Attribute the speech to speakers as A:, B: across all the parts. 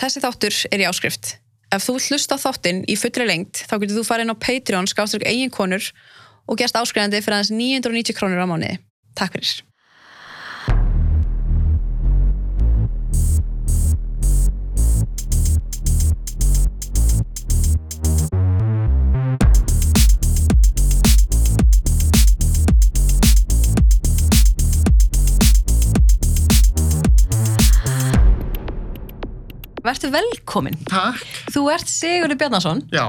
A: Þessi þáttur er í áskrift. Ef þú vilt hlusta á þáttinn í fullri lengt, þá getur þú farið inn á Patreon skástrík eiginkonur og gerst áskrifandi fyrir aðeins 990 krónur á mánuði. Takk fyrir. Vertu velkomin.
B: Takk,
A: Þú ert Sigurður Bjarnason
B: já,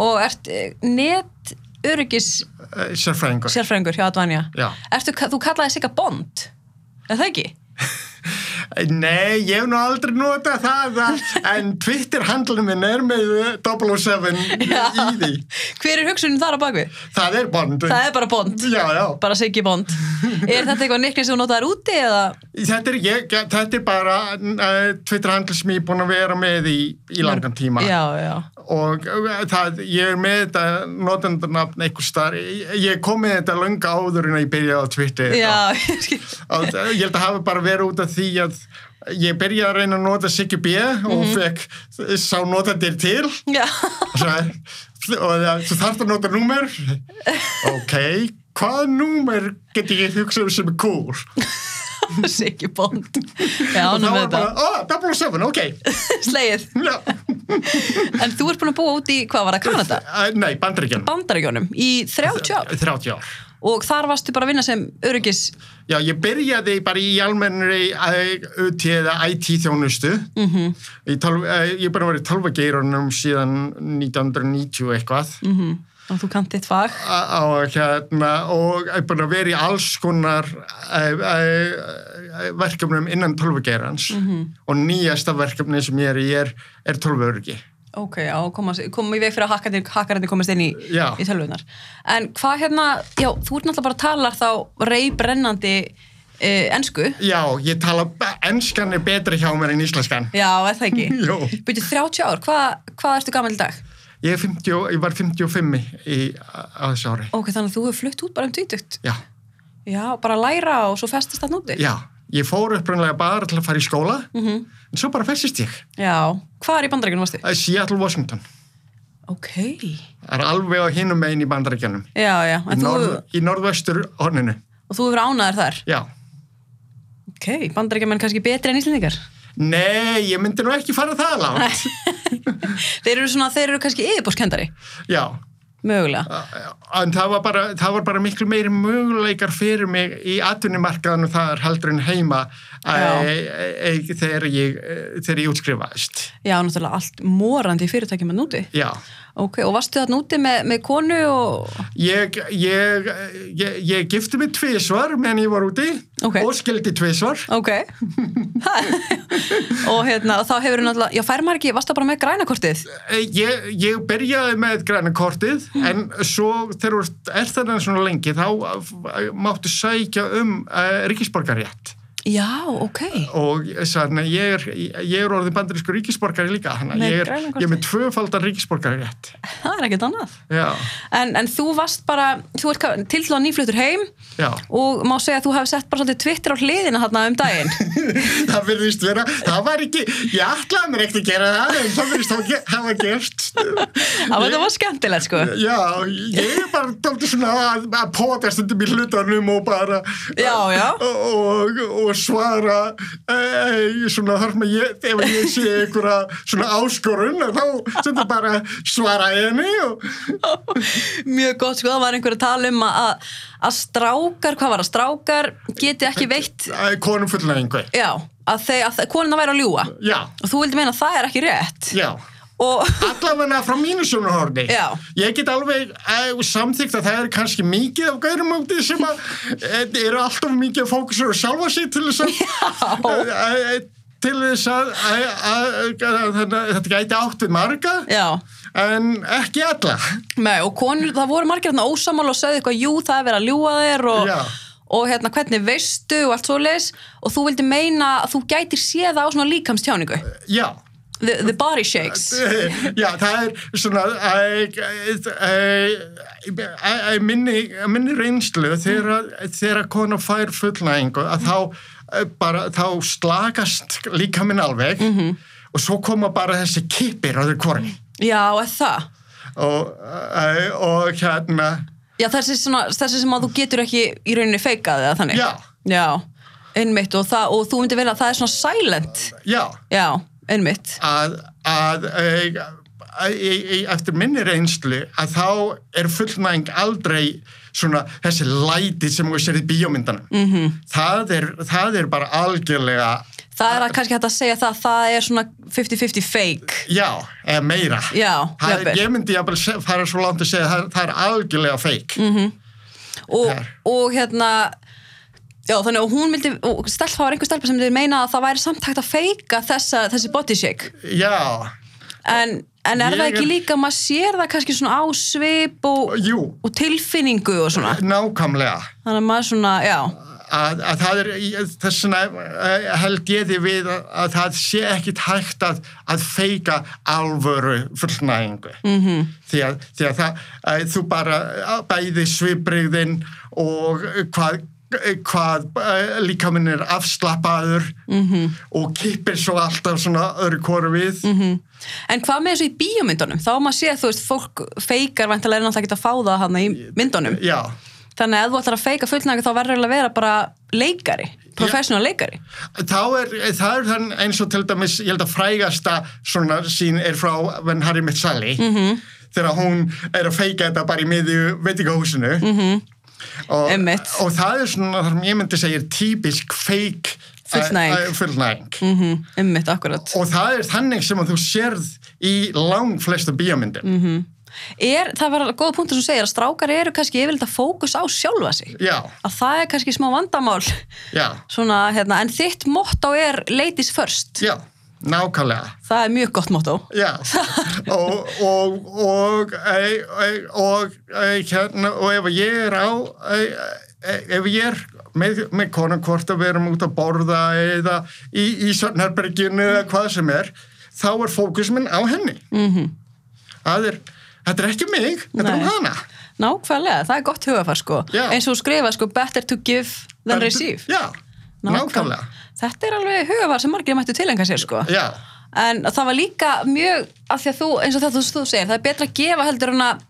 A: og ert eh, net öryggis
B: eh, sérfræðingur.
A: sérfræðingur hjá Advanja.
B: Já.
A: Ertu, þú kallaði sig eitthvað bond, er það ekki?
B: Eh, Nei, ég hef nú aldrei notað það, að- en Twitter-handlunum minn er með eh, 007 í því.
A: Hver er hugsunin þar á bakvið?
B: Það er bond.
A: Það er bara bond,
B: Já, já.
A: bara Siggi bond. Er þetta eitthvað niknir sem þú notaðir úti eða?
B: Þetta er, ég, þetta er bara uh, Twitter-handlun sem ég er búin að vera með í, í langan tíma.
A: Já, já.
B: Og eh, það, ég er með þetta notendurnafn einhvers staðar. Ég- Ég kom með þetta lönga áður en ég byrjaði á Twitter.
A: Já, ég skil.
B: að, ég held að hafa bara verið út af því að ég byrjaði að reyna að nota Siggi B og
A: Mhm.
B: fekk sá notandir til
A: já.
B: og sagði, og það, þú þarft að nota númer ok, hvað númer get ég hugsað um sem er cool
A: Siggi bond. Já,
B: og þá
A: ánum með
B: var
A: þetta.
B: bara, ó, 007, ok
A: Slegið.
B: Já.
A: En þú ert búin að búa út í, hvað var það, Kanada?
B: Æ, nei, bandaríkjan
A: Bandaríkjónum í 30 ár
B: 30 ár
A: og þar varstu bara að vinna sem öryggis
B: Já, ég byrjaði bara í almennri UT eða IT þjónustu. Mm -hmm.
A: Mhm.
B: Ég er bara verið í tölvageirunum síðan 1990 eitthvað mm -hmm.
A: og þú kannt þitt fag.
B: og, hérna, og ég er bara verið í alls konar eh, eh, verkefnum innan tölvageirans og nýjasta verkefni sem ég er í er, er tölvaurgi.
A: Ok, já, koma, koma í veg fyrir að hakkarnir, hakkarnir komast inn í,
B: Já.
A: í tölvunar. En hvað hérna, já, þú ert náttúrulega bara að tala þá reybrennandi eh, ensku.
B: Já, ég tala, be- enskan er betri hjá mér en íslenskan.
A: Já, er það ekki?
B: Jó.
A: Byrju 30 ár, hvað, hvað ertu gammal í dag?
B: Ég, er 50, og- ég var 55 í, á á þessu ári.
A: Ok, þannig að þú hefur flutt út bara um tvítugt.
B: Já.
A: Já, bara að læra og svo festist það núti.
B: Já, ég fór upprannlega bara til að fara í skóla en svo bara festist ég
A: Já, hvað er í bandaríkunum varstu?
B: að Seattle, Washington
A: Ok.
B: Það er alveg á hinum megin í bandarækjanum
A: Já, já,
B: í,
A: en þú,
B: norð, í norðvestur horninu
A: og þú hefur ánaður þar.
B: Já,
A: Ok, bandaríkjumenn kannski betri en íslendingar.
B: nei, ég myndi nú ekki fara það langt
A: Þeir eru svona, þeir eru kannski yfirbórskendari.
B: Já,
A: Mögulega.
B: en það var, bara, það var bara miklu meiri möguleikar fyrir mig í atvinnumarkaðanum þar heldur en heima
A: Já.
B: e, e, e, þegar, ég, eh, þegar ég útskrifaðist
A: Já, náttúrulega allt morandi í fyrirtækjum að núti.
B: Já,
A: Ok, og varstu þarna úti með, með konu og...
B: ég, ég, ég, ég gifti mig tvisvar meðan ég var úti
A: Ok.
B: og skildi tvisvar
A: Ok. Ha, og hérna, og þá hefur hún náttúrulega... Já, fær maður ekki, varstu bara með grænakortið?
B: Eh, Ég, ég byrjaði með græna kortið
A: Hmm.
B: en svo þegar þú ert- ert þarna svona lengi þá eh, máttu sækja um uh, ríkisborgarrétt
A: Já, ok.
B: og sann, ég, er, ég er orðin bandarískur ríkisborgari líka þannig að
A: Með
B: ég er,
A: græna kortið?
B: ég er með tvöfaldan ríkisborgarrétt
A: Það er ekkert annað.
B: Já,
A: En, en þú varst bara, þú ert ka- til til að nýflutur heim
B: já,
A: og má segja að þú hefði sett bara svolítið Twitter á hliðina þarna um daginn.
B: það verðist vera, það var ekki, ég ætlaði mér ekkert að gera það en það verðist hafa, ge- hafa gerst.
A: Það var, það var skemmtilegt, sko.
B: Já, ég er bara tótti svona að, að potast undir mér hlutanum og bara
A: Já, já.
B: Og, og svara e, svona þarf með ég, ef ég sé einhverja svona áskorun þá sem það bara svara henni og
A: Mjög gott, sko. Það var einhver að tala um að- að, að strákar, hvað var það, strákar geti ekki veitt,
B: e, konum fullna einhver.
A: já, að, þau, að konuna væri að ljúa.
B: Já,
A: Og þú vildi meina að það er ekki rétt.
B: já.
A: Og,
B: Allavega frá mínu sjónahorni.
A: Já.
B: Ég get alveg e, samþygt að það er kannski mikið af gærum átti sem að e, eru alltaf mikið að fókusur á sjálfa sig til þess að Æ, æ, til þess að, að, að, að, að þetta gæti átt við marga
A: já,
B: en ekki alla
A: með, og konur, það voru margir þarna ósamála og sögðu eitthvað, jú, það er verið að ljúa þér og,
B: Já.
A: og hérna, hvernig veistu og allt svo leis og þú vildi meina að þú gætir séð á svona líkamstjáningu.
B: já,
A: The, the body shakes.
B: já það er svona æ, æ, æ, æ, minni, minni reynslu þegar, að- þegar að kona fær fullnæðingu að þá, æ, bara, þá slakast líka minn alveg og svo koma bara þessi kipir öðru kvorni
A: já, eða það
B: og, eh, og hérna
A: Já, þessi, svona, þessi sem að þú getur ekki í rauninni feikað eða þannig.
B: Já.
A: Já, einmitt og, það, og þú myndir vel að það er svona silent.
B: já,
A: Já, einmitt.
B: að, að e, e, e, eftir minni reynslu að þá er fullnæging aldrei svona þessi læti sem þú sér í bíómyndana mm -hmm.
A: Mhm.
B: það, er, það er bara algjörlega
A: Það er að kannski hægt að segja það, það er svona 50-50 fake.
B: já, eða meira
A: Já,
B: það,
A: jafnvel.
B: ég myndi jafnvel se- fara svo langt að segja að það, það er algjörlega feik
A: Mhm.
B: mm.
A: Og,
B: Þar.
A: og hérna, já þannig og hún myndi, og stelpa var einhver stelpa sem myndi meina að það væri samt hægt að feika þessa, þessi body shake.
B: já,
A: En, en er
B: Ég
A: það ekki
B: er-
A: líka, maður sér það kannski svona á svip og,
B: jú,
A: og tilfinningu og svona.
B: nákvæmlega
A: Þannig að maður svona, já,
B: að, að það er ég- þess vegna eh, held ég því við að, að það sé ekkit hægt að, að feika alvöru fullnægingu -hmm. því að, því að það, að þú bara að bæði svipriðin og hvað hvað eh, líkaminn er afslappaður -hmm. og kippir svo alltaf svona öðru koru við -hmm.
A: En hvað með þessu í bíómyndunum? Þá á maður sé að þú veist, fólk feikar vantilega er náttúrulega ekki að fá það hana í myndunum.
B: já,
A: Þannig að ef þú ætlar að feika fullnægu þá verður eiginlega að vera bara leikari, professional leikari.
B: þá er, eh, það er þann eins og til dæmis, ég held að frægasta svona sín er frá When Harry Met Sally -hmm. þegar hún er að feika þetta bara í miðju veitingahúsinu -hmm. og,
A: Einmitt.
B: og það er svona, þar sem ég myndi segja er típisk feik
A: Fullnæging.
B: eh, eh, fullnæging.
A: Mm -hmm. Ummitt, akkurat.
B: og það er þannig sem að þú sérð í lang flestu bíómyndir -hmm.
A: Er, það var góða punktur sem þú segir að strákar eru kannski yfirleitt að fókus á sjálfa sig.
B: já,
A: Að það er kannski smá vandamál.
B: já,
A: Svona, hérna, en þitt motto er ladies first.
B: já nákvæmlega
A: Það er mjög gott motto.
B: Já, og, og, og, ei, ei, og, ei, hérna, og ef ég er á, ei, ei, ef ég er með, með konan hvort að við erum út að borða eða í, í Sörnherberginu eða hvað sem er, þá er fókus minn á henni. Mm -hmm. er, þetta er ekki mig, þetta er
A: Nei.
B: um hana.
A: Nákvæmlega, það er gott hugafar sko.
B: Já.
A: Eins og þú skrifa sko, better to give than receive.
B: Já, nákvæmlega.
A: Þetta er alveg hugafar sem margir mættu tilhengar sér sko.
B: Já,
A: En það var líka mjög, af því að þú, eins og það þú, þú segir, það er betra að gefa heldur en að,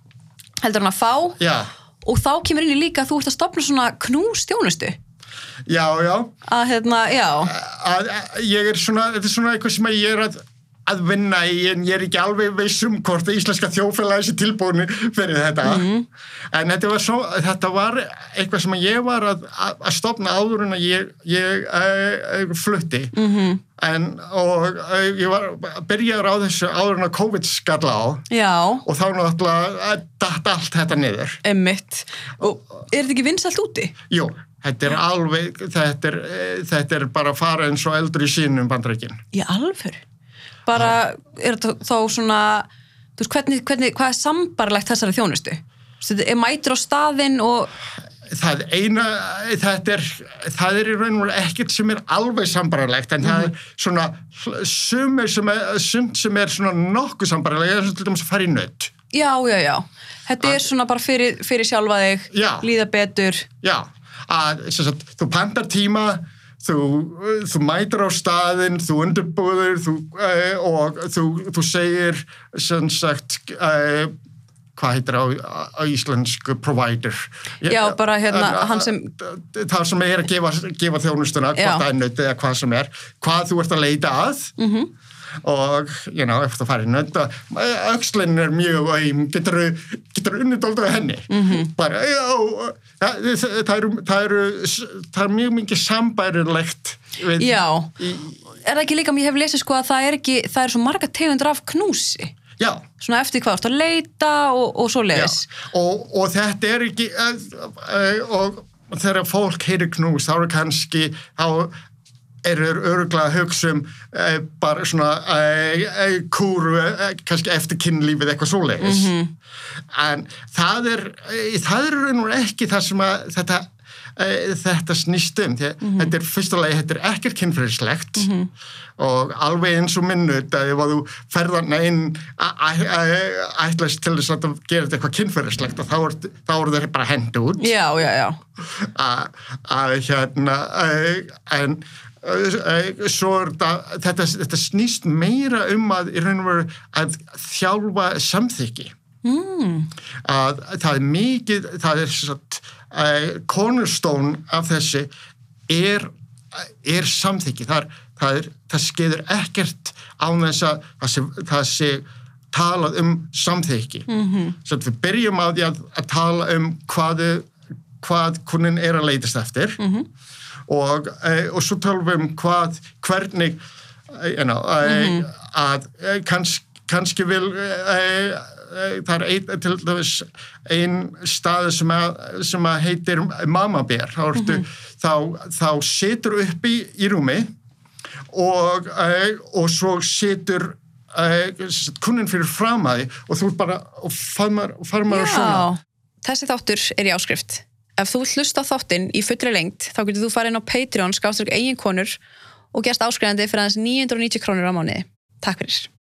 A: heldur en að fá
B: já,
A: og þá kemur inn í líka að þú ert að stopna svona knústjónustu.
B: já, já.
A: Að hérna, já,
B: að, að ég er svona, þetta er svona eitthvað sem ég er að, að vinna í en ég er ekki alveg veist um hvort að íslenska þjófélagi sé tilbúinu fyrir þetta en þetta var, svo, þetta var eitthvað sem ég var að, að, að stopna áður en að ég, ég uh, flutti -hmm. en, og uh, ég var byrjaður á þessu áður en að COVID skalla á
A: já,
B: og þá náttúrulega eh, datt allt þetta niður
A: emmitt. Og er þetta ekki vinsalt úti?
B: jú, þetta er alveg þetta er, eh, þetta er bara að fara eins og eldri sínum bandreikin
A: Í alvöru. Bara, er þetta þá svona, þú veist, hvernig, hvernig, hvað er sambarlegt þessari þjónustu? Þú veist, er mætur á staðinn og,
B: það eina, þetta er það er í raun og veru ekkert sem er alveg sambaralegt en það
A: Mhm.
B: er svona sumir sem er, sumt sem er svona nokkuð sambaralegt, eða svona til dæmis að fara í nött
A: já, já, já. Þetta er svona bara fyrir, fyrir sjálfa þig,
B: Já.
A: líða betur.
B: já, að sem sagt, þú pandar tíma þú, þú mætir á staðinn þú undirbúður þú, uh, og þú, þú segir sem sagt uh, hvað heitir á, á íslensku provider Eh,
A: Já, bara hérna,
B: En,
A: hann sem-
B: það sem er að gefa, gefa þjónustuna
A: Já.
B: hvort það er nödd eða hvað sem er hvað þú ert að leita að
A: Mhm.
B: -hmm. og, you know, eftir að fara í nödd aukslinn er mjög aum getur, getur unnudóldu að henni -hmm.
A: Mhm.
B: bara, já og- það, það, það, eru, það, eru, það er mjög mikið sambærilegt við,
A: Já.
B: í,
A: er það ekki líka, ég hef lesið sko að það er ekki, það er svo marga tegundur af knúsi
B: já
A: svona eftir hvað þú ert að leita og, og svo
B: Já,
A: leiðis
B: og, og þetta er ekki eh, eh, og þegar fólk heyrir knús þá eru kannski þá eru öruglega að hugsa um eh, bara svona eh, eh, kúru, eh, kannski eftir kynlífið eitthvað svoleiðis en það er eh, það er raun og veru ekki það sem að þetta eh, þetta snýst um því að þetta er fyrsta lagi, þetta er ekkert kynfyrirslegt og alveg eins og minnut að ef að þú ferðarna inn a- a- a- ætlast til þess að þú gerir þetta eitthvað kynfyrirslegt og þá er, þá er þetta bara hend út
A: já, já, já,
B: að að hérna eh, en Eh, svo er þetta, þetta, þetta snýst meira um að, í raun og veru, að þjálfa samþykki. Mm. Að, það er mikið, það er satt, uh, cornerstone af þessi er, er samþykki. Það, er, það, er, það skeiður ekkert án þess að það sé, það sé talað um samþykki. Mm -hmm. Svo við byrjum á því að, að tala um hvað, hvað kunnin er að leitast eftir. Mm -hmm og, e, og svo tölum við um hvað, hvernig e, you know, e, að kanns, kannski vil eh, það er ein, til dæmis ein stað sem, að, sem að heitir mamabér þá, mm -hmm. þá, þá situr uppi í rúmi og, eh, og svo situr eh, kunnin fyrir framæði og þú bara og farmar, farmar
A: Já.
B: svona
A: Þessi þáttur er í áskrift. Ef þú vilt hlusta á þáttinn í fullri lengt, þá getur þú farið inn á Patreon skástrík eiginkonur og gerst áskrifandi fyrir aðeins 990 krónur á mánuði. Takk fyrir.